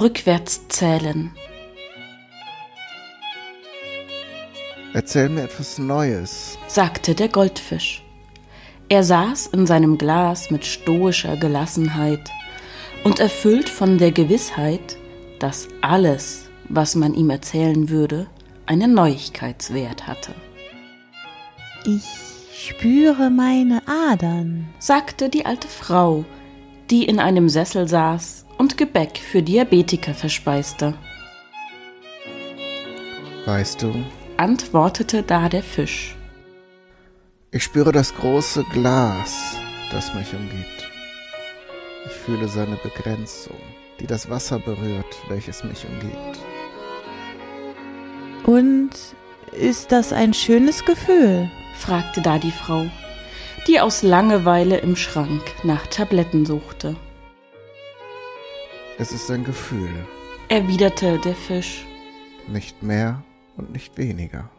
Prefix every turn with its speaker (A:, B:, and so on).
A: Rückwärts zählen.
B: Erzähl mir etwas Neues.
A: sagte der Goldfisch. Er saß in seinem Glas mit stoischer Gelassenheit und erfüllt von der Gewissheit, dass alles, was man ihm erzählen würde, einen Neuigkeitswert hatte,
C: Ich spüre meine Adern.
A: sagte die alte Frau, die in einem Sessel saß und Gebäck für Diabetiker verspeiste,
B: Weißt du,
A: antwortete da der Fisch.
B: ich spüre das große Glas, das mich umgibt. Ich fühle seine Begrenzung, die das Wasser berührt, welches mich umgibt.
C: Und ist das ein schönes Gefühl?
A: fragte da die Frau, die aus Langeweile im Schrank nach Tabletten suchte,
B: Es ist ein Gefühl,
A: erwiderte der Fisch.
B: nicht mehr und nicht weniger.